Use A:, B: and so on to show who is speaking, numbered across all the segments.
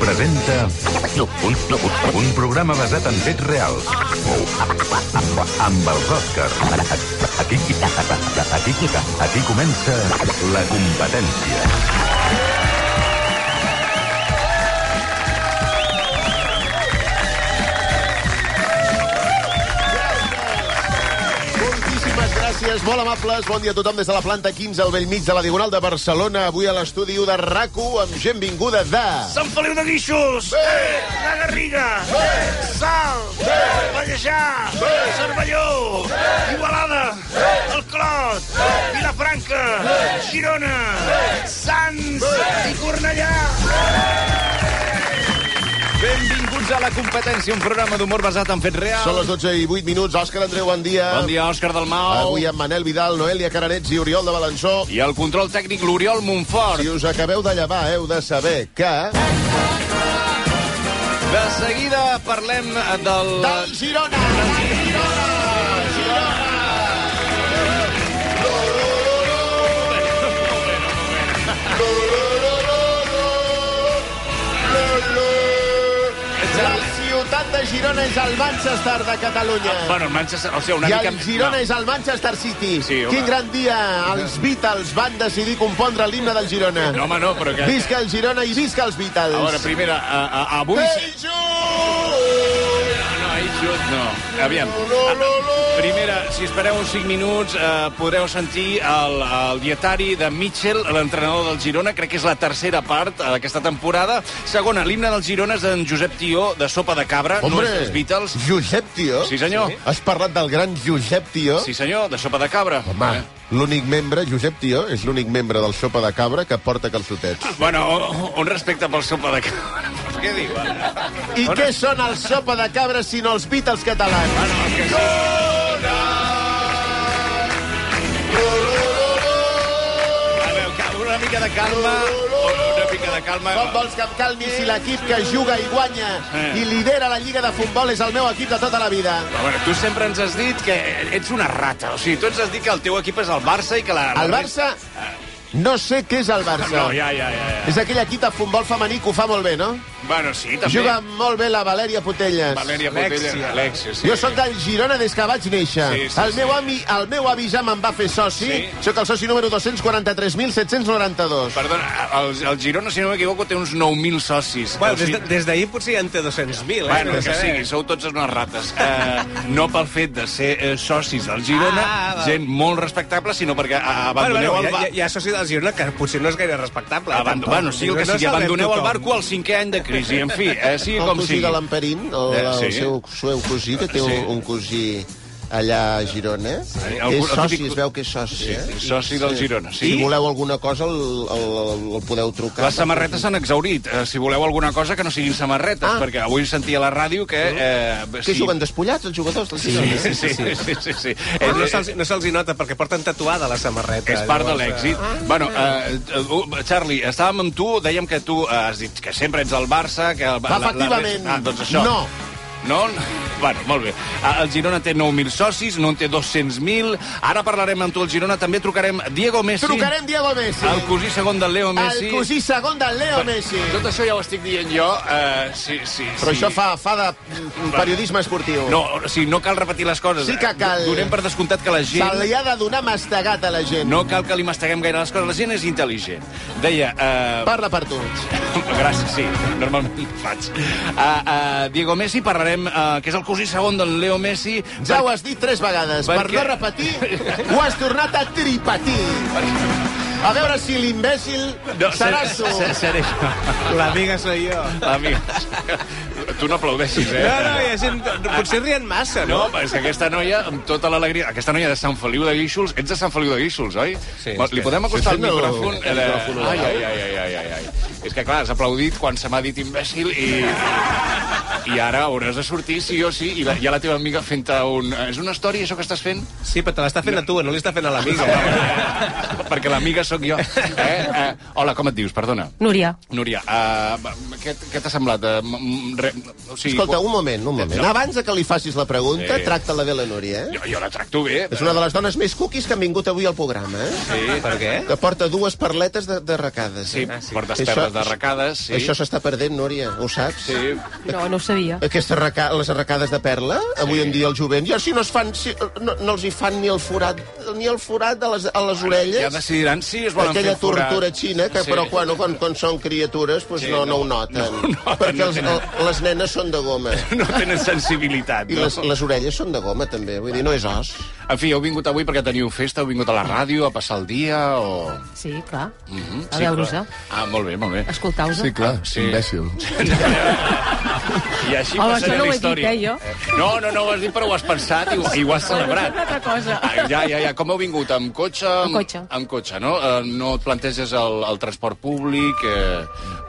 A: presenta un, un programa basat en fets reals. Amb els Oscars. Aquí, aquí, aquí comença la competència.
B: Moltíssimes gràcies, molt amables. Bon dia a tothom des de la planta 15 al vell mig de la Diagonal de Barcelona. Avui a l'estudi u de rac amb gent vinguda de...
C: Sant Feliu de Guíxols! Bé! La Garriga! Bé! Salt! Bé! Pallejà! Bé! Cervelló! Bé! Igualada! Bé! El Clot! Bé! Vilafranca! Bé! Girona! Bé! Sants! Bé! I Cornellà!
D: Benvinguts a la competència, un programa d'humor basat en fets reals.
B: Són les 12 i 8 minuts. Òscar Andreu, bon dia.
D: Bon dia, Òscar Dalmau.
B: Avui amb Manel Vidal, Noelia Caranets i Oriol de Balançó.
D: I el control tècnic, l'Oriol Montfort.
B: Si us acabeu de llevar, heu de saber que...
D: De seguida parlem del...
B: Del Girona! Del Girona! La ciutat de Girona és el Manchester de Catalunya.
D: Ah, Bueno, el Manchester... O sigui, una
B: I
D: mica...
B: el Girona
D: no.
B: és el Manchester City.
D: Sí, home.
B: Quin gran dia els Beatles van decidir compondre l'himne del Girona.
D: No, home, no, però que...
B: Visca el Girona i visca els Beatles.
D: A veure, primera, a, a, avui... Ah,
B: Ei, Ju!
D: No, ahir xut, no. Aviam.
B: Lo, lo, lo.
D: Primera, si espereu uns 5 minuts, eh, podreu sentir el, el dietari de Mitchell, l'entrenador del Girona. Crec que és la tercera part eh, d'aquesta temporada. Segona, l'himne del Girona és d'en Josep Tió, de Sopa de Cabra,
B: Hombre,
D: no és dels Beatles.
B: Josep Tió?
D: Sí, senyor.
B: Has parlat del gran Josep Tió?
D: Sí, senyor, de Sopa de Cabra.
B: Home,
D: Eh?
B: l'únic membre, Josep Tió, és l'únic membre del Sopa de Cabra que porta calçotets.
D: Bueno, o- o- un respecte pel Sopa de Cabra. Què diu?
B: I què són els Sopa de Cabra si no els Beatles catalans?
D: Bueno, que sí. A veure, cal- una mica de calma, una mica de calma.
B: Com vols que em calmi si l'equip que juga i guanya
D: Eh.
B: i lidera la Lliga de Futbol és el meu equip de tota la vida?
D: A veure, tu sempre ens has dit que ets una rata. O sigui, tu ens has dit que el teu equip és el Barça i que la...
B: El Barça... No sé què és el Barça.
D: No, ja, ja, ja. ja.
B: És aquell equip de futbol femení que ho fa molt bé, no?
D: Bueno, sí, també.
B: Juga molt bé la Valèria Potelles.
D: Valèria Potella. Alexia, sí.
B: Jo sóc del Girona des que vaig néixer.
D: Sí, sí,
B: el, meu
D: sí.
B: ami, el meu avi ja me'n va fer soci.
D: Sí.
B: Sóc el soci número 243.792.
D: Perdona, el, el Girona, si no m'equivoco, té uns 9.000 socis.
E: Bueno,
D: O sigui-
E: des de- des d'ahir potser ja en té 200.000, eh?
D: Bueno,
E: No
D: que
E: sé.
D: sigui, sou tots unes rates. Eh, no pel fet de ser eh, socis del Girona,
E: Ah, val.
D: gent molt respectable, sinó perquè eh,
E: Bueno,
D: abandoneu el
E: bueno, hi, ha,
D: bar...
E: hi, ha- hi ha soci del Girona que potser doncs no és gaire respectable. eh,
D: Abando...
E: tampoc.
D: Bueno, sigui el que
E: No
D: sigui,
E: salvem
D: abandoneu el
E: tothom.
D: barco al cinquè any de crisi. En fi, eh, sigui
B: El
D: com
B: cosí
D: sigui.
B: de l'Amperín, o
D: Eh,
B: el
D: sí.
B: seu, seu cosí, que té
D: Sí.
B: un, un cosí allà a Girona.
D: el-
B: és
D: el
B: soci,
D: típic-
B: es veu que és soci, eh?
D: és soci del Girona, sí.
B: Si voleu alguna cosa, el, el, el, el podeu trucar.
D: Les samarretes s'han exaurit. Eh, si voleu alguna cosa, que no siguin samarretes,
B: Ah.
D: ah. perquè avui sentia a la ràdio que... Eh,
B: Que juguen despullats, els jugadors del Girona?
D: Sí, sí, sí. sí, sí, sí.
E: Eh,
D: És,
E: No se'ls no se'ls hi nota perquè porten tatuada la samarreta.
D: és part de
E: llavors, eh,
D: l'èxit. Bueno, eh, eh, uh, Charlie, estàvem amb tu, dèiem que tu eh, has dit que sempre ets el Barça, que... El, la- la-
B: Efectivament.
D: Ah, doncs això.
B: No.
D: No? Bueno, molt bé. Ah, El Girona té 9.000 socis, no en té 200.000. Ara parlarem amb tu al Girona. També trucarem Diego Messi,
B: Trucarem Diego Messi.
D: el cosí segon del Leo Messi.
B: El cosí segon del Leo Messi.
D: Tot això ja ho estic dient jo. Uh, sí, sí,
B: Però
D: sí.
B: això fa, fa de mm, periodisme esportiu.
D: No, o sigui, no cal repetir les coses. eh,
B: Sí que cal.
D: Donem per descomptat que la
B: Se
D: gent...
B: li ha de donar mastegat a la gent.
D: No cal que li masteguem gaire les coses. La gent és intel·ligent. Deia... Uh...
B: Parla per tu.
D: Gràcies, sí. Normalment ho faig. Uh, uh, Diego Messi, parlarem, uh, que és el cosí segon del Leo Messi.
B: Ja ho has dit tres vegades. Per,
D: Per
B: no
D: què?
B: repetir, ho has tornat a tripetir. A veure si l'imbècil no, seràs tu.
D: ser- Seré jo.
E: La biga soy jo.
D: Amics, tu no aplaudeixis, eh?
E: No, no, hi ha gent... Potser rient massa,
D: No,
E: no?
D: és que aquesta noia, amb tota l'alegria... Aquesta noia de Sant Feliu de Guíxols... Ets de Sant Feliu de Guíxols, oi?
E: Sí,
D: Bueno,
E: és
D: Li
E: que-
D: podem acostar
B: Sí,
D: el
B: sí, no,
D: micròfon? Eh,
B: el micròfon
D: ai, ai, ai, ai, ai, ai, ai. És que, clar, has aplaudit quan se m'ha dit imbècil i... i ara hauràs de sortir sí o sí, i la, hi ha la teva amiga fent-te un... "Eh, És una història, això que estàs fent?
E: Sí, però te l'està fent a tu, no li està fent a l'amiga.
D: Perquè l'amiga sóc jo. Eh? Eh? Hola, com et dius? Perdona.
F: Núria.
D: Núria, uh, què, què t'ha semblat? Uh, m- m- re, o sigui,
B: Escolta, un moment, un moment. Abans de que li facis la pregunta,
D: Sí.
B: tracta-la bé la Núria, eh?
D: Jo, jo la tracto bé.
B: És una de les dones més cookies que han vingut avui al programa, eh?
D: Sí,
E: Per què?
B: Que porta dues perletes de, de recades.
D: sí,
B: eh?
D: portes
B: Això-
D: terres de recades, sí.
B: Això s'està perdent, Núria, ho saps?
D: Sí.
F: No, no ho sabia.
B: Aquestes reca les arracades de perla, avui en dia el jovent, ja si no, es fan, si, no, no els hi fan ni el forat, ni el forat a les, a les orelles,
D: Ja decidiran si es volen
B: aquella
D: fer un forat.
B: tortura xina, que sí. però quan, quan, quan són criatures pues
D: Sí,
B: sí, no, no,
D: no,
B: ho noten,
D: no ho noten,
B: perquè
D: no
B: els,
D: tenen-
B: el, les nenes són de goma.
D: No tenen sensibilitat.
B: I
D: no?
B: les, les orelles són de goma, també. Vull dir, no és os.
D: En fi, heu vingut avui perquè teniu festa, heu vingut a la ràdio a passar el dia o... Mhm,
F: Sí, clar. Mm -hmm. A
D: Sí,
F: veure-us-a.
D: clar. Ah, molt bé, molt bé.
F: Escoltau-se.
G: Sí, clar,
D: Ah, Sí.
G: sí. imbècil.
D: I així
F: Home,
D: passarà
F: això no
D: la
F: ho he
D: història.
F: dit, eh, jo.
D: No, no, no ho has dit, però ho has pensat i, ho- i ho has
F: Bueno,
D: celebrat.
F: sembla altra cosa.
D: Ah, Ja, ja, ja. Com heu vingut? Amb cotxe?
F: Amb cotxe.
D: Amb cotxe, no? Eh, No et planteges el, el transport públic, eh,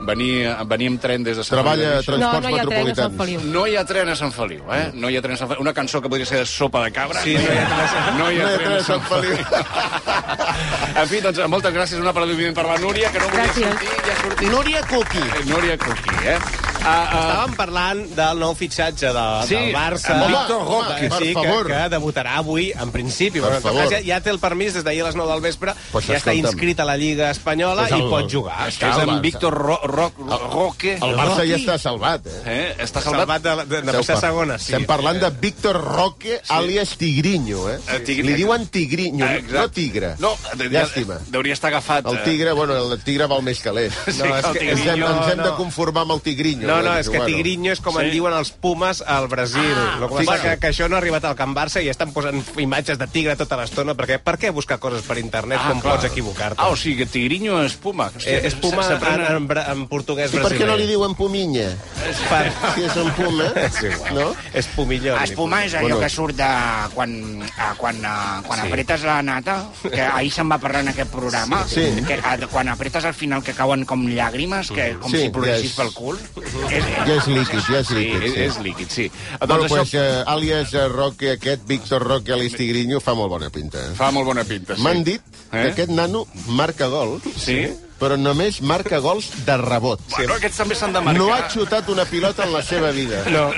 D: venir, venir amb tren des de Sant
B: Treballa a
D: Feliu de Guíxols?
B: transports
F: no hi ha tren a Sant
B: metropolitans.
F: Feliu.
D: No hi ha tren a Sant Feliu, eh? No hi ha tren a Sant Feliu. Una cançó que podria ser de sopa de cabra.
E: Sí, no hi ha tren a Sant-
D: No hi ha tren a Sant Feliu.
B: Feliu.
D: en fi, doncs, moltes gràcies. Una paraula per la Núria, que no volia
F: Gràcies.
D: sortir i ha sortit.
B: Núria Cuqui.
D: Núria Coqui, eh? Ah, ah,
E: Estàvem parlant del nou fitxatge de,
D: Sí,
E: del Barça.
D: amb
B: Víctor Roque.
E: Home,
B: Per
E: sí, que,
B: favor.
E: que debutarà avui, en principi.
B: Per
E: Però en tot cas,
B: favor.
E: ja, ja té el permís des d'ahir a les 9 del vespre.
G: Pues
E: ja està
G: escolta'm.
E: inscrit a la Lliga Espanyola
B: Pues el-
E: i pot jugar.
D: és que és en Víctor Ro Ro Roque.
B: El Barça ja està salvat, eh?
D: Eh? Està
E: Salvat
D: salvat?
E: de, de, de passar a segona, sí.
B: Estem parlant de Víctor Roque, sí. alias Tigrinho, eh?
D: Eh, Tigre-
B: Li diuen Tigrinho,
D: Ah,
B: no
D: exacte.
B: Tigre.
D: No, de, de,
B: Llàstima.
D: Deuria estar agafat.
B: El
D: eh,
B: tigre, bueno, el tigre val més calés.
D: Sí, que el
B: Ens hem,
D: Tigrinho,
B: ens hem de
E: no.
B: conformar amb el tigrinho.
E: No, no,
B: Vull
E: és
B: dir,
E: que Tigrinho és com
D: Sí.
E: en diuen els Pumes al Brasil. Ah, que passa
B: Fixa.
E: que, que això no ha arribat al Camp Barça i estan posant imatges de tigre tota l'estona, perquè per què buscar coses per internet ah, quan
D: clar.
E: pots equivocar-te?
D: Ah, o sigui que Tigrinho és Puma.
E: Eh, és Puma
D: Se- s'aprèn
E: en, en, bra- en portuguès
B: I per què no li
E: brasiler.
B: diuen pominya?
E: Per...
B: Si és un puma,
E: És igual.
B: no?
E: És pomilló.
H: Espumar és allò
B: Bueno.
H: que surt de... quan, a, quan, a, quan sí. apretes la nata, que ahir se'n va parlar en aquest programa,
B: Sí.
H: que a, quan apretes al final que cauen com llàgrimes, que com
B: Sí,
H: sí, si ploressis
B: ja és-
H: pel cul, és,
B: Ja és líquid, ja és
D: Sí,
B: líquid.
D: és, és líquid, sí.
B: Bueno,
D: doncs
B: pues,
D: això
B: eh, alias eh, Roque, aquest Víctor Roque, alias Tigrinho, fa molt bona pinta. eh?
D: fa molt bona pinta. Sí.
B: M'han dit que
D: Eh?
B: aquest nano marca gols,
D: Sí?
B: però només marca gols de rebot.
D: Bueno, aquests també s'han de marcar.
B: No ha xutat una pilota en la seva vida. No.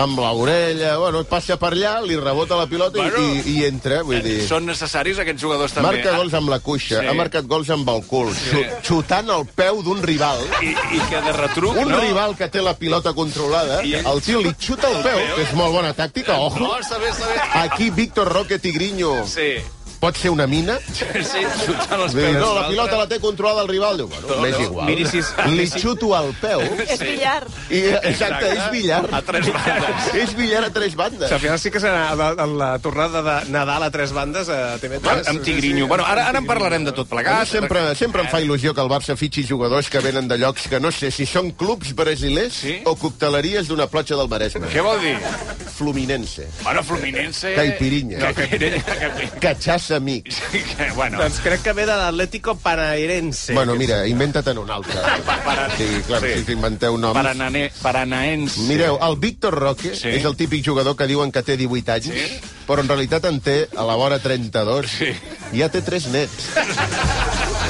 B: Amb l'orella, bueno, passa per allà, li rebota la pilota bueno, i,
D: Bueno.
B: i, i entra, vull dir...
D: Són necessaris aquests jugadors també.
B: Marca gols amb la cuixa,
D: Sí.
B: sí. ha marcat gols amb el cul, sí. xutant el peu d'un rival.
D: I, I que de retruc...
B: Un
D: no?
B: no. rival que té la pilota controlada,
D: I ell-
B: el tio li xuta el peu, que és molt bona tàctica,
D: No,
B: ojo.
D: Oh, està bé, està bé.
B: Aquí Víctor Roque Tigrinho
D: Sí.
B: pot ser una mina?
D: Sí, xutant els
B: Bé,
D: peus.
B: no, la pilota la té controlada el rival. Diu, bueno, m'és igual.
E: miri si és-
B: Li xuto al peu.
F: És billar.
B: I, exacte, és
D: A
B: billar.
D: tres bandes.
B: És billar a tres bandes.
E: Al final sí que serà la, la, la tornada de Nadal a tres bandes a TV3.
D: Amb Tigrinho. Bueno, ara, ara en parlarem de tot
B: A mi
D: plegat.
B: sempre, sempre em fa il·lusió que el Barça fitxi jugadors que venen de llocs que no sé si són clubs brasilers
D: Sí?
B: o cocteleries d'una platja del Maresme.
D: Què vol dir?
B: Fluminense.
D: Bueno, Fluminense...
B: Caipirinha.
D: No, Caipirinha. Caipirinha.
B: Catxassa amics.
D: Que, bueno,
E: Doncs crec que ve de l'Atlético
B: Sí,
E: Parairense.
B: bueno, mira, inventa-te'n un altre. Sí, clar,
D: Sí.
B: sí. si t'inventeu noms...
D: paranane, paranaense.
B: Mireu, el Víctor Roque
D: Sí.
B: sí. és el típic jugador que diuen que té 18 anys,
D: Sí.
B: sí. però en realitat en té a la vora 32.
D: Sí.
B: Ja té 3 nets,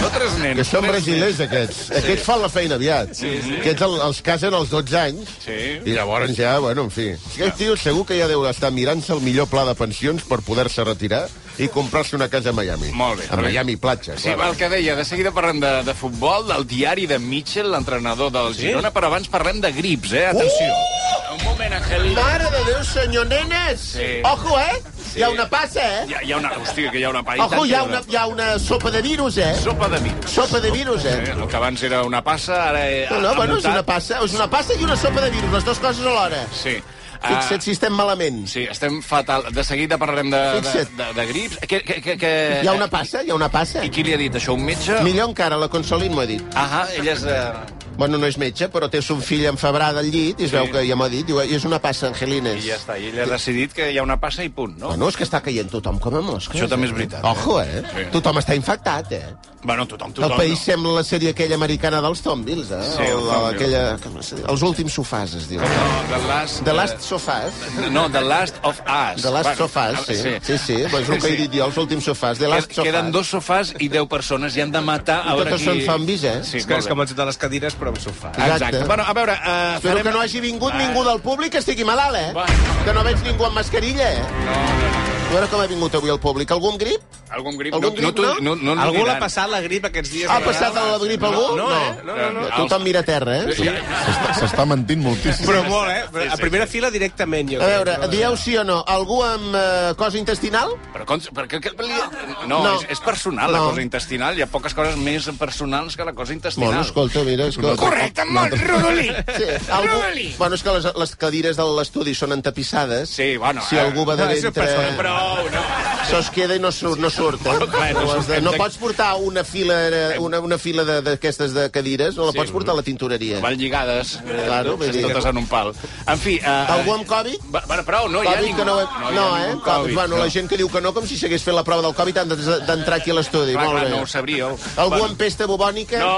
D: Nosaltres nens.
B: que són
D: tres
B: brasilers, aquests. Sí. Aquests fan la feina aviat. Sí, sí. Aquests el, els casen als 12 anys
D: nens. Sí.
B: I llavors ja, bueno, en fi. Aquest tio segur que ja deu estar mirant-se el millor pla de pensions per poder-se retirar i comprar-se una casa a Miami.
D: Molt bé.
B: A Miami platja,
D: Sí, va,
B: clar.
D: el que deia, de seguida parlem de, de futbol, del diari de Mitchell, l'entrenador del Girona, però abans parlem de grips, eh? Atenció. Uh! Un moment, Angelina.
B: Mare de Déu, senyor Nenes!
D: Sí.
B: Ojo, eh? Hi ha una passa, eh?
D: Hi ha, hi ha una... Hòstia, que hi ha una paella.
B: Ojo, hi ha una, hi ha una sopa de virus, eh?
D: Sopa de mics.
B: Sopa de virus,
D: Eh,
B: eh?
D: El que abans era una passa, ara... Eh,
B: No,
D: ha-
B: no,
D: ha
B: bueno, és
D: mutat.
B: una passa, és una passa i una sopa de virus, les dues coses alhora.
D: Sí. Ah,
B: Fixa't si estem malament.
D: Sí, estem fatal. De seguida parlarem de, de,
B: Fixa't.
D: de, de grips. Que, que, que, que...
B: Hi ha una passa, hi ha una passa.
D: I qui li ha dit això? Un metge?
B: Millor encara, la Consolín m'ho ha dit.
D: Ah, ella és... Eh...
B: Bueno, no és metge, però té son fill enfebrada al llit i es
D: Sí.
B: veu que ja m'ha dit, diu, "I és una passa, Angelines.
D: I ja està, i ell ha decidit que hi ha una passa i punt, no?
B: Bueno, és que està caient tothom com a mosques.
D: Això també és veritat.
B: Ojo, eh? Sí.
D: Sí.
B: Tothom està infectat, eh?
D: Bueno, tothom,
B: Tothom,
D: tothom.
B: el país no. sembla la sèrie aquella americana dels Tombills, eh?
D: Sí,
B: el,
D: el Thornbills.
B: aquella, com es diu? els últims sofàs, es diu.
D: No, No, The Last... eh,
B: The Last Sofàs.
D: No, The Last of Us.
B: The Last
D: Bueno, ah,
B: Sofàs, sí. Sí, sí, sí. Doncs és el que he dit jo, els últims sofàs. The Last
D: Qued- Queden
B: Sofàs.
D: dos sofàs i deu persones i han de matar... A veure
B: totes
D: qui...
B: són zombis, eh?
D: Sí,
E: És que és
D: molt
E: com
D: bé.
E: el joc de les cadires, però amb sofà.
B: Exacte.
D: Exacte. Bueno, a veure... Uh,
B: Espero que no hagi vingut ningú del públic que estigui malalt, eh?
D: Va.
B: Que no veig ningú amb mascarilla, eh? No, no, no. A veure com ha vingut avui el públic. Algú amb grip?
D: Algun grip?
B: Algun
D: no,
B: grip,
D: no,
B: no?
D: tu- no, no, no
E: Algú l'ha
D: diran.
E: passat la grip aquests dies?
B: Ha passat la grip algú?
E: No, eh? No, no, no.
B: Tothom mira a terra, eh?
D: Sí.
A: S'està- S'està mentint moltíssim.
E: Però molt, eh?
D: Sí,
E: Però A
D: sí,
E: primera fila directament, jo
B: A veure,
E: crec.
B: dieu sí o no, algú amb eh, cosa intestinal?
D: Però com, per què, què, li... No,
B: No.
D: no. És, és personal, no.
B: No.
D: la cosa intestinal. Hi ha poques coses més personals que la cosa intestinal.
B: Bueno, escolta, mira, escolta.
H: Correcte, molt rodolí.
B: Sí, algú... Bueno, és que les, les cadires de l'estudi són entapissades.
D: Sí, bueno,
B: Si
D: eh,
B: algú va de
E: no, és
B: dintre...
E: persona,
D: Prou, no.
B: Se'ls queda i no surt, no surt. Eh?
D: clar, no
B: no, has de,
D: surt.
B: no pots portar una fila, eh, una, una fila de- d'aquestes de, cadires, no la pots portar a la tintoreria.
D: Van lligades, eh,
B: Claro, vull dir-
D: totes en un pal. En fi... Eh,
B: Algú amb Covid?
D: Va, bueno, prou, no hi ha
B: Covid
D: ningú.
B: que no,
D: hi ha
B: no, eh?
D: ningú amb
B: Covid, bueno, la
D: no.
B: gent que diu que no, com si s'hagués fet la prova del Covid, han de- d'entrar aquí a l'estudi.
D: Clar,
B: Molt
D: clar,
B: bé.
D: no ho sabríeu.
B: Algú
D: Bueno,
B: amb pesta bubònica?
D: No,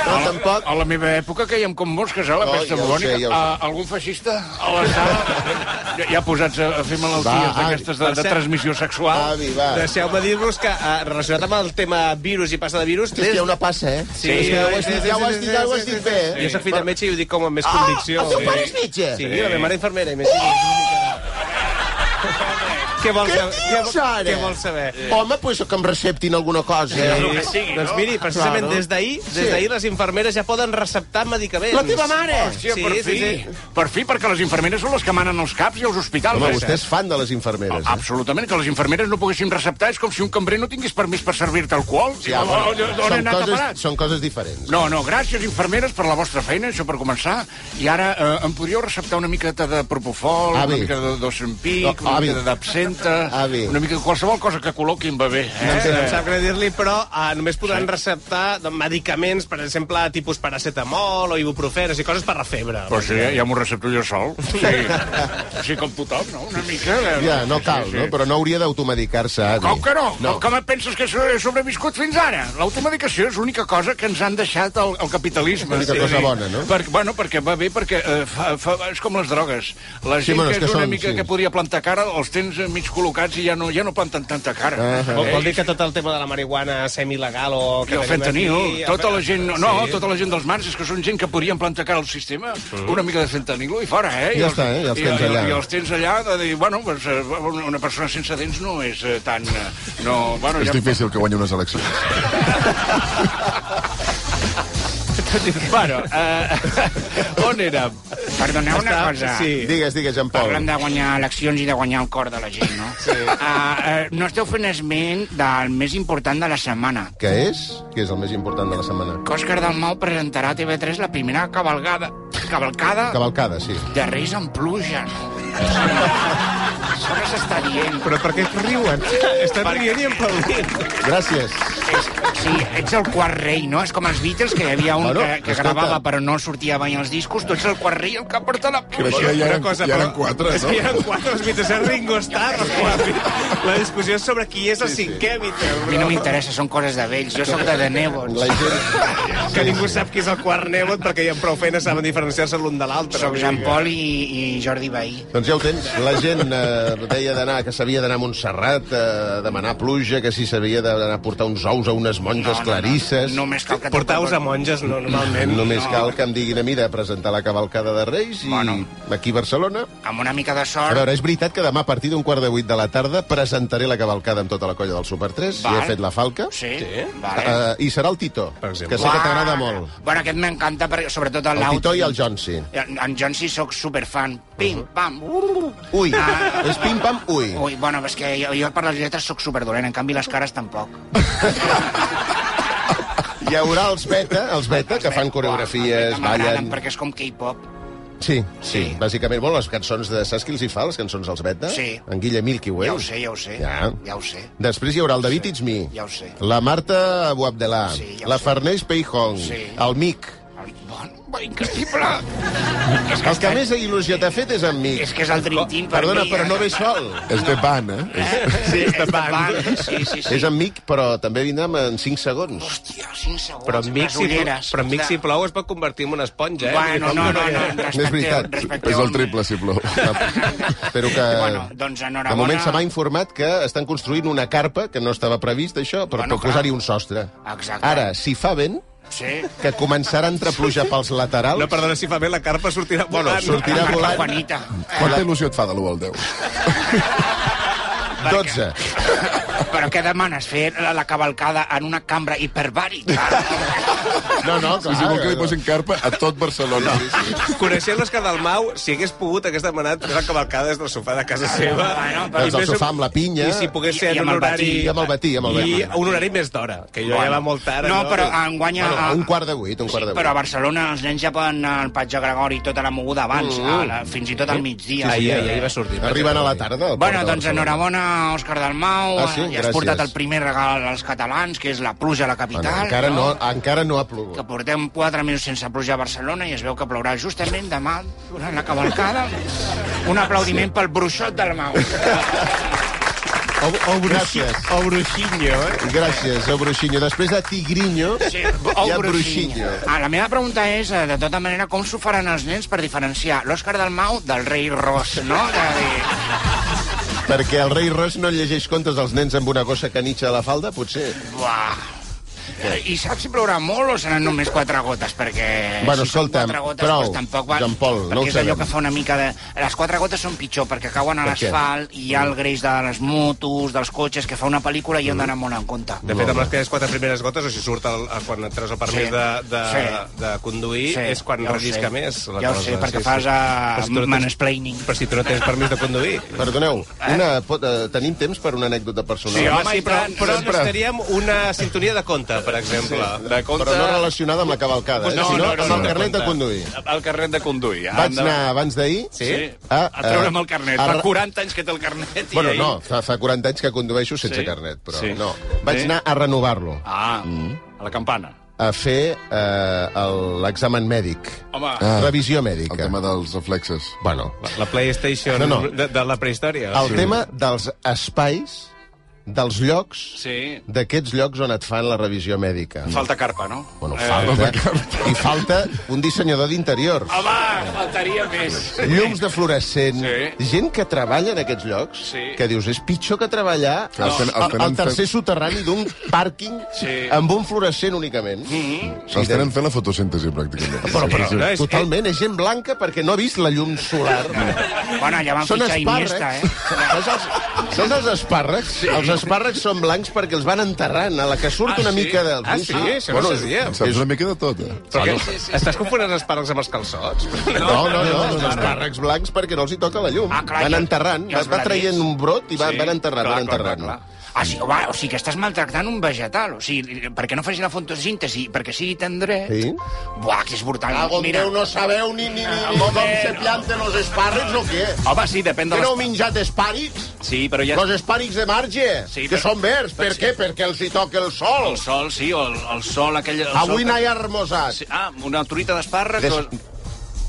B: No, tampoc.
D: a la meva època caiem com mosques, eh, la
B: No, ja
D: pesta
B: ho
D: bubònica.
B: sé, ja ho sé.
D: Ah, algun feixista a la sala ja, ja posats a, a fer malalties
B: Va, avi,
D: d'aquestes de,
E: per
D: de
E: cert.
D: transmissió sexual.
B: Avi, va.
E: Deixeu-me dir-vos que, eh, relacionat amb el tema virus i passa de virus...
B: És que hi ha una passa, eh?
E: Sí,
B: és que ja ho has
E: sí,
B: dit,
E: sí,
B: ja ho
E: sí,
B: has
E: sí,
B: dit, ja ho has
E: sí,
B: dit
E: sí,
B: bé,
E: sí.
B: eh?
E: Jo soc fill de metge i ho dic com amb més
B: Ah,
E: convicció.
B: el teu
E: Sí.
B: pare és metge?
E: Sí, la meva mare infermera i més. Què vols
B: Què
E: saber?
B: dius, ara?
E: Què vols saber?
B: Home, pues que em receptin alguna cosa.
D: El
B: Eh?
D: Eh, que sigui,
E: doncs
D: no?
E: miri, precisament
B: Claro.
E: des d'ahir des
B: Sí.
E: d'ahir les infermeres ja poden receptar medicaments.
B: La teva mare!
D: Hòstia, per fi. Eh. Per fi, perquè les infermeres són les que manen els caps i els hospitals.
B: Home,
D: eh?
B: vostè és fan de les infermeres. Eh?
D: Absolutament, que les infermeres no poguéssim receptar és com si un cambrer no tingués permís per servir-te alcohol. Sí,
B: Ja, bueno,
D: on he
B: són,
D: anat a parar?
B: coses, són coses diferents.
D: No, no, gràcies, infermeres, per la vostra feina, això per començar. I ara eh, em podríeu receptar una miqueta de propofol,
B: Avi.
D: una mica de
B: No,
D: docempic, no, una
B: avi.
D: mica d'absenta,
B: Avi.
D: una mica de qualsevol cosa que col·loquin va bé.
E: Eh?
D: Eh?
E: Em sap greu dir-li, però uh, només podran receptar doncs, medicaments, per exemple, tipus paracetamol o ibuprofenes i coses per la febre.
D: Però sí, ja m'ho recepto jo sol. Sí. sí, com tothom, no? Una mica... eh,
B: Ja, no
D: sí,
B: cal,
D: sí, sí.
B: no? Però no hauria d'automedicar-se, Adi.
D: Com que no?
B: No.
D: no. Com et penses que so- he sobreviscut fins ara? L'automedicació és l'única cosa que ens han deixat el, el capitalisme.
B: L'única cosa
D: Sí.
B: bona, no?
D: Per, bueno, perquè va bé, perquè eh, fa, fa, és com les drogues. La gent sí,
B: bueno,
D: bueno,
B: és
D: que és,
B: que
D: una
B: són,
D: mica
B: sí.
D: que podia plantar cara els tens eh, mig col·locats i ja no, ja no planten tanta cara. Eh?
B: Ah,
E: Vol, vol dir que tot el tema de la marihuana semi-legal o...
D: I el fentanil, tota la gent... No, tota la gent dels mars és que són gent que podrien plantar cara al sistema. Una mica de fentanil i fora, eh? I
B: Mm. Ja
D: els-
B: està, eh? Ja els
D: i-
B: tens
D: i-
B: allà.
D: I els tens allà de dir, bueno, doncs, eh, una- una persona sense dents no és eh, tan... eh, No, bueno,
A: És
D: ja...
A: difícil que guanyi unes eleccions.
D: Bueno, eh, on érem?
H: Perdoneu una cosa.
E: Sí.
B: Digues, digues, en Pol.
H: Parlem de guanyar eleccions i de guanyar el cor de la gent, no? Sí. Uh, uh, no esteu fent esment del més important de la setmana.
B: Què és? Què és el més important de la setmana?
H: Que Òscar Dalmau presentarà a TV3 la primera cabalgada, cavalcada
B: Cavalcada, sí.
H: de Reis amb pluja, no? Això no s'està dient.
E: Però per què riuen? Estan rient i aplaudint.
B: Gràcies.
H: És, sí, ets el quart rei, no? És com els Beatles, que hi havia un
B: Bueno,
H: bueno, que, que
B: escolta.
H: gravava però no sortia mai als discos. Tu ets el quart rei, el que porta la
A: Però
H: pluja.
A: això ja
E: Una
A: eren, ja eren
E: però-
A: quatre,
E: És que hi
A: no?
E: eren quatre, els Beatles, és Ringo Starr, els quatre. La discussió és sobre qui és el cinquè Beatles,
H: A mi
E: bro.
H: no m'interessa, són coses de vells. Jo sóc de The Nebons.
B: La gent...
E: Que ningú sap qui és el quart nebot, perquè ja amb prou feines saben diferenciar-se l'un de l'altre.
H: Soc
E: vull dir
H: Jean
E: que-
H: Paul i, i Jordi Bahí.
B: Doncs ja ho tens. La gent eh, deia d'anar, que s'havia d'anar a Montserrat eh, a demanar pluja, que si s'havia d'anar a portar uns ous a unes monges clarisses...
H: Només cal que...
E: Portar-vos a monges, no, normalment.
B: Només cal que em diguin a mi de presentar la cavalcada de Reis i
H: Bueno.
B: aquí a Barcelona.
H: Amb una mica de
B: A
H: sort...
B: veure, és veritat que demà a partir d'un quart de vuit de la tarda presentaré la cavalcada amb tota la colla del Super 3. Ja
H: Val.
B: he fet la falca.
H: Sí,
E: Sí.
H: vale.
B: Uh, I serà el Tito,
E: Per
B: que sé
E: exemple.
B: que t'agrada molt.
H: Bueno, aquest m'encanta, perquè sobretot el
B: El
H: Laut.
B: Tito i el Uh-huh. Johnson.
H: En, en John sí sóc superfan. Pim, pam.
B: Ui,
H: Ah.
B: és pim-pam, ui.
H: Ui, bueno, és que jo, jo per les lletres sóc superdolent, en canvi les cares tampoc.
B: Hi haurà els beta, els beta, que fan coreografies,
H: M'agraden,
B: ballen...
H: Perquè és com K-pop.
B: Sí, sí, bàsicament. Bueno, les cançons de... Saps qui els hi fa, les cançons dels beta?
H: Sí.
B: En Guille Milky Way.
H: Ja ho sé, ja ho sé.
B: Ja.
H: Ja ho sé.
B: Després hi haurà el David It's Me,
H: Ja ho sé.
B: la Marta Boabdelà,
H: Sí, ja ho
B: la
H: sé.
B: Farners Peijong,
H: Sí.
B: el Mic,
H: El- Increïble! És
B: El que més il·lusió t'ha fet és amb mi.
H: És que és el Dream Team per
B: Perdona,
H: mi,
B: però
H: eh?
B: no ve sol.
G: És de pan, eh? És...
H: Sí, és de pan. Sí, sí, sí.
B: És amic, però també vindrà en 5 segons.
H: Hòstia, 5 segons.
E: Però amb Mic,
H: les
E: si,
H: ulleres.
E: però amb Mic, si plou, es pot convertir en una esponja, eh?
H: Bueno, no, no, no. Respecteu,
B: És veritat.
H: respecteu,
G: És el
H: home.
G: triple, si plou.
B: Espero que...
H: Bueno, doncs enhorabona.
B: De moment se m'ha informat que estan construint una carpa, que no estava previst, això, però
H: Bueno,
B: bueno,
H: clar.
B: posar-hi un sostre.
H: Exacte.
B: Ara, si fa vent,
H: Sí.
B: que començarà a entrar pluja pels laterals...
E: No, perdona, si fa bé, la carpa sortirà
B: Bueno,
E: volant.
B: sortirà-
H: Tira volant.
B: volant.
H: Juanita.
G: Quanta il·lusió et fa de l'1 al 10?
B: 12.
H: Però què demanes? Fer la, la cavalcada en una cambra hiperbàrica?
B: No, no, clar.
G: Si si vol que li posin carpa a tot Barcelona.
E: Coneixent l'Òscar Dalmau, si hagués pogut, hagués demanat fer la cavalcada des del sofà de casa seva.
H: Bueno, però-
B: Des del sofà amb la pinya.
E: I si pogués ser
H: I- i
E: en
H: amb
E: un
H: el
E: horari...
H: matí,
B: i amb el matí, amb el matí.
E: I un horari més d'hora, que jo ja va molt tard.
H: no, però enguany...
B: Bueno, a
H: a-
B: Ah, un quart de vuit, un quart de
H: Sí,
B: vuit.
H: però a Barcelona els nens ja poden anar al Patge Gregori i tota la moguda abans, mm. a la, fins i tot al migdia.
E: Ahir, ahir, ahir va sortir.
B: Arriben a la tarda. al port
H: Bueno,
B: de
H: doncs
B: Barcelona.
H: enhorabona, Òscar Dalmau. eh,
B: Ah, sí?
H: I has
B: Gràcies.
H: portat el primer regal als catalans, que és la pluja a la
B: Bueno,
H: capital.
B: encara, no, encara no ha plogut.
H: que portem 4 mesos sense pluja a Barcelona i es veu que plourà justament demà durant la cavalcada. Un aplaudiment pel bruixot del Mau.
B: O, o gràcies.
E: O Bruxinho, eh?
B: Gràcies, o Bruxinho. Després de Tigrinho,
H: Sí,
B: hi ha Bruxinho.
H: Ah, la meva pregunta és, eh, de tota manera, com s'ho faran els nens per diferenciar l'Òscar del Mau del rei Ros, no? És a dir,
B: Perquè el rei Ros no llegeix contes als nens amb una gossa canitxa a la falda, potser.
H: buah. Eh, I saps si plourà molt o seran només quatre gotes? Perquè
B: Bueno,
H: si són
B: escolta'm,
H: quatre gotes,
B: prou,
H: doncs tampoc va...
B: Joan Pol,
H: perquè
B: no ho
H: és allò
B: sabem.
H: que fa una mica de... Les quatre gotes són pitjor, perquè cauen a
B: Per què?
H: l'asfalt i hi ha el greix de les motos, dels cotxes, que fa una pel·lícula
B: Mm.
H: i hem d'anar molt en compte.
E: De fet, amb les teves quatre primeres gotes, o si surt el, el, quan et treus el permís
H: Sí.
E: de, de,
H: Sí.
E: de conduir, és quan
H: ho
E: rellisca
H: sé.
E: més. la
H: Ja ho
E: cosa.
H: sé, perquè
E: Sí,
H: fas
E: sí. Però si tu
H: uh,
E: no tens-
H: mansplaining.
E: Però si tu no tens permís de conduir.
B: Perdoneu, una, pot, eh, tenim temps per una anècdota personal?
D: Sí, home,
E: Home, sí,
D: i
E: però,
D: tant,
E: però
D: sempre.
E: necessitaríem una sintonia de conte, per exemple.
D: De compte...
B: Però no relacionada amb la cavalcada, eh?
D: No,
B: sinó
D: no, no,
B: amb el
D: no.
B: carnet de conduir.
D: El carnet de conduir. ah,
B: Vaig anar abans d'ahir...
D: Sí? A, a treure'm el carnet.
B: a-
D: Fa 40 anys que té el carnet. i
B: Bueno,
D: ahir-
B: no, fa, fa 40 anys que condueixo sense
D: Sí?
B: carnet, però
D: Sí.
B: no. Vaig
D: Sí?
B: anar a renovar-lo,
D: Ah,
B: Mm.
D: a la campana.
B: a fer eh, el- l'examen mèdic.
D: Home,
G: Ah.
B: Revisió
G: El
B: mèdica.
G: tema dels reflexes.
B: Bueno,
E: La, la PlayStation
B: No,
E: no,
B: no.
E: no. De, de la prehistòria.
B: el tema dels espais, dels llocs,
D: sí.
B: d'aquests llocs on et fan la revisió mèdica.
D: Falta carpa, no?
B: Bueno, falta... I falta un dissenyador d'interior.
D: eh, Home, faltaria més.
B: Llums de fluorescent,
D: Sí.
B: sí. gent que treballa en aquests llocs,
D: Sí.
B: que dius, és pitjor que treballar
G: No.
B: al,
G: Els
B: al,
G: tenen-
B: al tercer soterrani d'un pàrquing
D: Sí.
B: amb un fluorescent únicament. Mm -hmm.
G: Se'ls tenen fent la fotosíntesi, pràcticament.
B: Però, però,
E: No,
B: no,
E: Eh, és-
B: totalment, és gent blanca perquè no ha vist la llum solar.
H: Bueno, ja van
B: Són
H: fitxar
B: espàrrecs.
H: Iniesta, eh?
B: Saps els, saps els espàrrecs? Sí. Els espàrrecs són blancs perquè els van enterrant. A la que surt
D: Ah,
B: una
D: sí?
B: mica de...
E: Ah, sí? Això no
B: bueno,
E: ho sabia.
G: En Saps una mica de tot, eh?
E: Però que, Estàs confonent els espàrrecs amb els calçots?
B: No, no, no, els espàrrecs blancs perquè no els hi toca la llum.
H: Ah, clar,
B: van
H: i el-
B: enterrant,
H: i els
B: va, va
H: graners.
B: traient un brot i va,
D: Sí,
B: van enterrant,
D: clar,
B: van
D: clar,
B: enterrant.
D: clar,
H: Ah, sí, va, o sigui que estàs maltractant un vegetal, o sigui, perquè no faci la fotosíntesi, perquè sigui tan dret...
B: Sí.
H: Buah, que és brutal. Mira,
B: no sabeu ni, ni, ni, ni com se planten els espàrrecs o què?
D: Home, sí, depèn de les...
B: menjat espàrrecs?
D: Sí, però ja...
B: Els espàrrecs de marge,
D: Sí, que però- són
B: verds. Per què? Perquè els hi toca el sol.
D: El sol, sí, o el, el sol aquell... El sol que-
B: n'hi ha armosat.
D: Sí, ah, una truita d'espàrrecs...
B: Des-
D: o-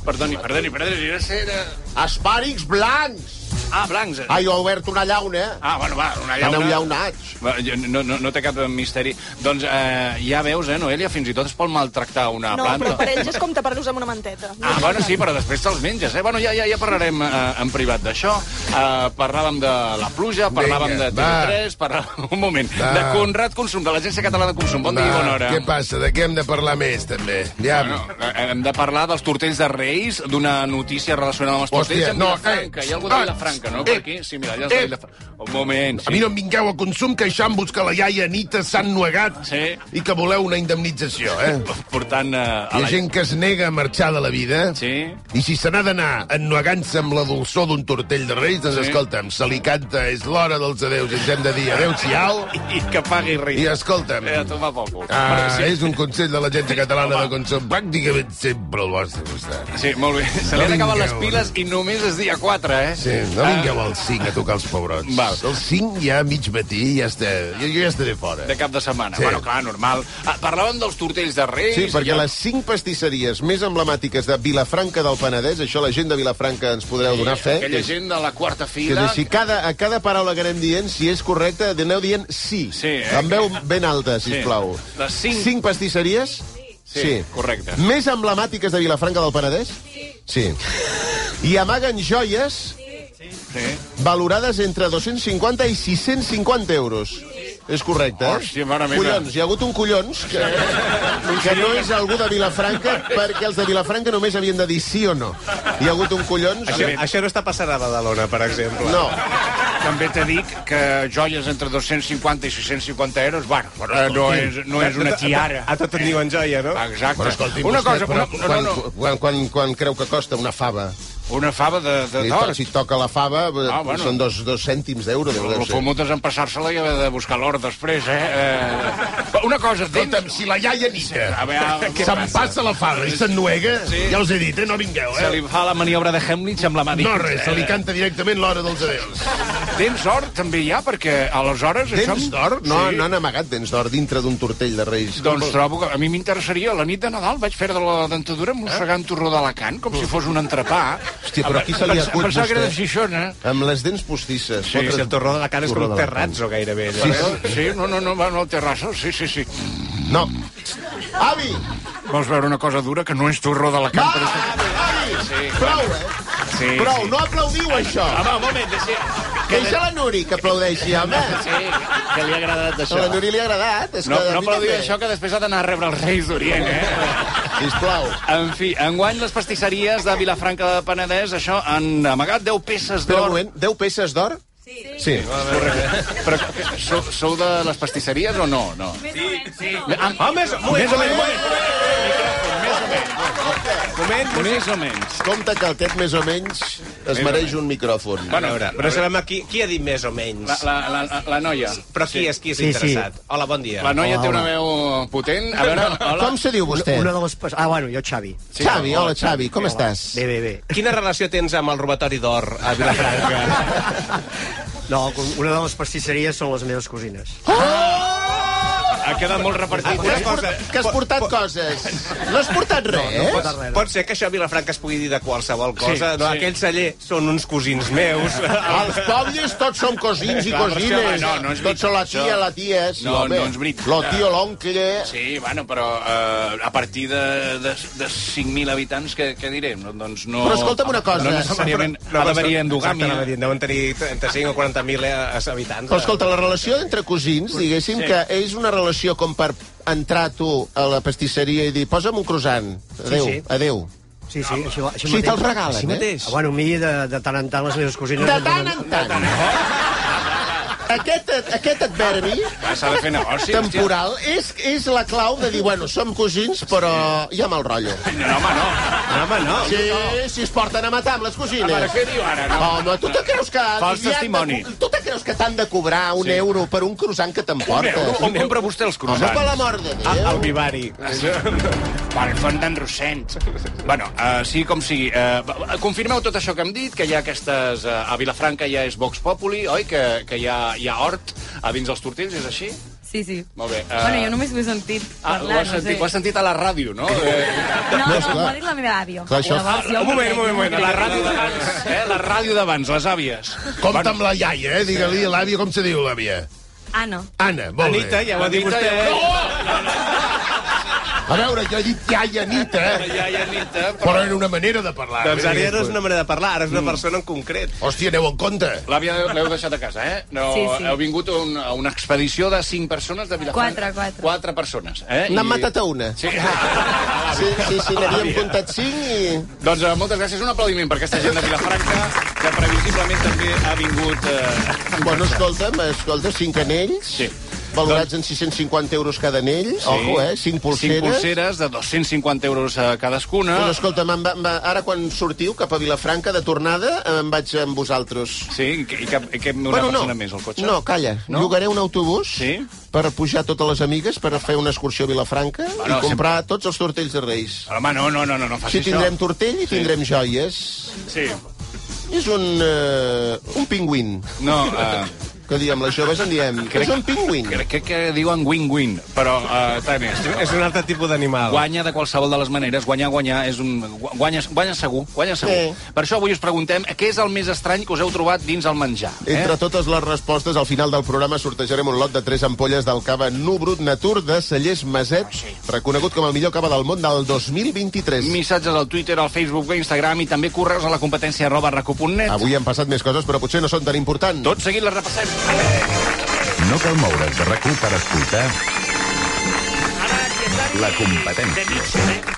D: Perdoni, perdoni, perdoni, no sé... era-
B: Espàrrecs blancs.
D: Ah, blancs. eh?
B: Ai, ho ha obert una llauna.
D: Ah, bueno, va, una
B: Ja n'heu
D: llauna...
B: llaunats.
D: Va, jo- No, no, no té cap misteri. Doncs eh, ja veus, eh, Noelia, fins i tot es pot maltractar una
F: No,
D: planta.
F: però per ells és com tapar-los amb una manteta.
D: Ah, bueno, sí, però després te'ls menges, eh? Bueno, ja, ja, ja parlarem eh, en privat d'això. Eh, parlàvem de la pluja, parlàvem
G: Vinga,
D: de TV3, parlàvem... Un moment. De Conrad Consum, de l'Agència Catalana de Consum. Bon dia i bona hora.
G: Ah, què passa? De què hem de parlar més, també? Ja,
D: Bueno, eh, hem de parlar dels tortells de Reis, d'una notícia relacionada amb els
G: Hòstia,
D: tortells.
G: no,
D: amb Vilafranca.
G: eh,
D: Hi ha algú de
G: ah,
D: Vilafranca, no?
G: eh,
D: Per aquí? Sí, mira, allà és de
G: eh.
D: Vilafranca. Un moment,
G: A mi
D: sí.
G: no em vingueu a consum queixant-vos que la iaia Anita s'han nuegat
D: Sí.
G: i que voleu una indemnització, eh?
D: Portant eh, a
G: Hi
D: la...
G: ha gent que es nega a marxar de la vida.
D: Sí.
G: I si se n'ha d'anar ennuegant-se amb la dolçor d'un tortell de reis, doncs
D: Sí.
G: sí. escolta'm, se li canta, és l'hora dels adeus, i ens hem de dir adeu-siau,
D: I que pagui
G: i
D: Reis.
G: escolta'm...
D: Eh, a tomar poco.
G: Ah, és un consell de l'Agència Catalana de Consum, pràcticament sempre al vostre costat.
D: Sí, molt bé. Se li han
G: Vinga,
D: acabat les
G: bueno.
D: piles i només és dia 4, eh?
G: Sí, no
B: Ah.
G: vingueu al 5 a tocar els pebrots.
D: Val.
G: El 5 ja a mig matí ja està... Jo, jo ja estaré fora.
D: de cap de setmana.
G: Sí.
D: Sí. Bueno, clar, normal. Ah, parlàvem dels tortells de Reis.
B: Sí, perquè
D: i-
B: les cinc pastisseries més emblemàtiques de Vilafranca del Penedès, això la gent de Vilafranca ens podreu donar fe, que
D: Aquella
B: és,
D: gent de la quarta
B: que
D: fila...
B: és així. Cada, a cada paraula que anem dient, si és correcta, aneu dient sí.
D: Sí, eh?
B: Amb veu ben alta, sisplau.
D: Les cinc-
B: Cinc pastisseries?
D: Sí, correcte.
B: Més emblemàtiques de Vilafranca del Penedès? Sí. I amaguen joies?
D: Sí.
B: valorades entre 250 i 650 euros. És correcte, eh?
D: Hòstia, mare meva.
B: Collons, hi ha hagut un collons que, que no és algú de Vilafranca, perquè els de Vilafranca només havien de dir sí o no. Hi ha hagut un collons...
E: Això, això no està passant a Badalona, per exemple.
B: No,
D: També te dic que joies entre 250 i 650 euros, bueno, però
B: Eh,
D: no és, no és una tiara.
E: A, a tot en diuen joia, no?
D: Exacte.
G: Però escolti,
D: una cosa,
G: vostè,
D: una,
G: però
D: no,
B: quan,
D: no, no,
B: quan, quan, quan creu que costa una fava?
D: una fava de, de
B: Si, to,
D: d'or.
B: si toca la fava, ah,
D: bueno.
B: bueno. són dos, dos cèntims d'euro. deu- deu
D: El
B: ser.
D: fumut és empassar-se-la i haver de buscar l'or després, eh? eh? Una cosa,
G: Escolta'm,
D: dins...
G: si la iaia Nita
D: A veure, què
G: se'n
D: passa?
G: passa la fada i s'ennuega,
D: Sí.
G: ja us he dit, eh? no vingueu,
D: Se
G: eh?
D: li fa la maniobra de Hemlich amb la mà
G: No
D: dins,
G: res, se li canta directament l'hora dels adeus.
D: Tens or també hi ha, perquè aleshores...
B: Dents
D: això...
B: d'or? No, sí. no han amagat dents d'or dintre d'un tortell de Reis.
D: Doncs trobo que a mi m'interessaria. La nit de Nadal vaig fer de la dentadura mossegant torró d'Alacant, com si fos un entrepà.
B: Eh? Hòstia, però aquí se li
D: Pens-
B: acut,
D: Pensava que era de
B: vostè.
D: Xixona.
B: Amb les dents postisses.
D: Sí,
E: Si el torró de la cara és com
B: Torró
E: un
B: de la Cara.
E: terrazzo, gairebé. allò. eh?
B: Sí, sí.
D: Sí, no, no, no, va al terrasso, sí, sí, sí.
B: No. Avi!
D: Vols veure una cosa dura que no és torró d'Alacant?
B: Avi!
D: però
B: Avi!
D: Sí.
B: Prou, eh?
D: és- Sí,
B: Prou,
D: sí. ah,
B: no aplaudiu això.
D: Home, un moment, deixi...
B: Deixa la Nuri que aplaudeixi, home.
D: Sí, que li ha agradat
B: A la Nuri li ha agradat. És
D: No,
B: que a
D: no
B: mi
D: aplaudiu
B: també.
D: això, que després ha d'anar a rebre els Reis d'Orient, eh?
B: Sisplau.
D: En fi, enguany les pastisseries de Vilafranca de Penedès, això, han amagat 10 peces
B: Espera un
D: d'or.
B: moment, 10 peces d'or? Sí. Sí.
D: Però sou, sou de les pastisseries o no? no?
E: Ah, més, més o menys. Moment, moment.
D: Més o menys.
B: Compte que aquest més o menys es mereix un micròfon.
E: Bueno, a veure, però sabem qui, qui ha dit més o
D: La,
E: menys.
D: la, la, la- la noia.
E: Però qui és qui és
I: Sí, sí.
E: interessat? Hola, bon dia.
D: La noia té una veu potent. A veure, hola.
B: Com se diu vostè?
I: Una de les... pas- Ah, bueno, jo Xavi.
B: Xavi, hola Xavi, com estàs?
I: Bé, bé, bé.
E: Quina relació tens amb el robatori d'or a Vilafranca?
I: No, com- una de les pastisseries són les meves cosines.
D: Ha quedat molt
E: Ah,
D: repartit.
B: Que
D: eh?
B: has, portat, que has portat coses. No has portat res,
I: No
B: eh?
I: pot res.
E: Pot ser que això a Vilafranca es pugui dir de qualsevol cosa.
D: Sí,
E: no,
D: sí.
E: Aquell celler són uns cosins meus.
B: Als pobles tots som cosins i
D: Clar, però això,
B: cosines.
D: no, no és
B: tots són la
D: veritat,
B: tia,
D: això.
B: la tia. Sí,
D: No,
B: home.
D: no és veritat.
B: Lo tio, l'oncle...
D: Sí, bueno, però eh, a partir de, de, de 5.000 habitants, què, què direm? No, doncs no...
B: Però escolta'm una cosa.
D: No necessàriament ha d'haver
E: Exacte, anava
D: endogàmia.
E: dient, deuen tenir 35 o 40.000 habitants. eh.
B: Però escolta, la relació entre cosins, diguéssim, sí. que és una relació com per entrar tu a la pastisseria i dir posa'm un croissant, adeu, sí,
I: sí.
B: sí. adeu.
I: Sí, sí, així,
B: O
I: així
B: sigui, te'l
I: mateix.
B: regalen, eh?
E: mateix.
I: Ah, bueno, a mi de, de tant en tant les meves cosines...
B: De
I: em
B: tant
I: donen-
B: en tant. Aquest, aquest adverbi
D: Ah, S'ha de fer negoci. hòstia.
B: temporal és, és la clau de dir, bueno, som cosins, però hi ha mal rotllo.
D: No, home, no.
E: No, home, no.
B: Sí, si es porten a matar amb les cosines.
D: Ara, què diu ara, no?
B: Home, tu te creus que...
D: Fals
B: li han de-
D: testimoni.
B: Tu te creus que t'han de cobrar un sí. euro per un croissant que t'emportes?
D: On compra vostè els
B: Home, per
D: croissants?
B: la mort de Déu.
E: Ah, El vivari.
H: Pel font d'en Rossent.
D: Bueno, uh, sí com sigui. Uh, confirmeu tot això que hem dit, que hi ha aquestes... Uh, a Vilafranca ja és Vox Populi, oi? Que, que hi, ha, hi ha hort a dins dels tortells, és així?
J: Sí, sí.
D: Molt bé. eh,
J: Bueno, jo només ho he sentit
D: Ah, ho,
J: parlar,
D: has sentit, ho
J: no
D: has
J: sé.
D: sentit a la ràdio, no? Eh,
J: No,
B: No,
J: no,
B: esclar.
J: m'ho ha dit la meva àvia.
B: Clar, això-
J: Llavors jo
E: Un moment,
J: crec,
E: un moment, un moment.
J: no?
D: la ràdio d'abans, eh? La ràdio d'abans, les àvies.
G: Compte amb la iaia, eh? Digue-li a l'àvia com se diu l'àvia.
J: Anna.
G: Anna, molt
E: Anita,
G: bé.
E: ja ho ha dit vostè. eh?
D: Oh,
G: A veure, jo he dit iaia Nita,
B: eh?
D: Ja, ja, Anita, però...
G: però era una manera de parlar.
E: Doncs Mm. ara ja no és una manera de parlar, ara és una persona en concret.
G: Hòstia, aneu en compte.
D: L'àvia l'heu deixat a casa, eh? No,
J: Sí, sí.
D: Heu vingut a, un, a una expedició de cinc persones de Vilafranca.
J: Quatre, quatre.
D: Quatre persones, eh?
B: N'han matat a una.
D: Sí. Ah,
B: Sí, sí, sí, n'havíem comptat cinc i...
D: Doncs eh, moltes gràcies. Un aplaudiment per aquesta gent de Vilafranca, que previsiblement també ha vingut... Eh...
B: Bueno, escolta'm, escolta, cinc anells,
D: Sí.
B: valorats en 650 euros cada anell, sí. ojo, eh? Cinc pulseres.
D: Cinc pulseres de 250 euros eh, cadascuna.
B: Doncs escolta'm, em va, em va, ara quan sortiu cap a Vilafranca de tornada em vaig amb vosaltres.
D: Sí, i que, i que, i que una persona més al cotxe.
B: No, calla.
D: No?
B: No? Llogaré un autobús
D: Sí?
B: per pujar totes les amigues per fer una excursió a Vilafranca
D: Bueno,
B: i comprar tots els tortells de Reis.
D: Home, no, no, no, no, no facis
B: Així tindrem
D: això.
B: tortell i tindrem joies.
D: Sí.
B: És un... Uh, un pingüin.
D: No, eh,
B: Que diem, les joves en diem... Crec... És un pingüin.
D: Crec, crec que diuen win-win, però uh, tant és.
E: És un altre tipus d'animal.
D: Guanya de qualsevol de les maneres, guanyar, guanyar, és un... gu- Guanya, guanya segur, guanya segur. Sí. Per això avui us preguntem eh, què és el més estrany que us heu trobat dins el menjar. Eh?
B: Entre totes les respostes, al final del programa sortejarem un lot de 3 ampolles del cava Nubrut Natur de Cellers Maset, reconegut com el millor cava del món del 2023.
D: Missatges al Twitter, al Facebook, a Instagram i també correus a la competència arroba recu.net.
B: Avui han passat més coses, però potser no són tan importants.
D: Tot seguit les repassem.
A: No cal moure's de rac per escoltar la competència.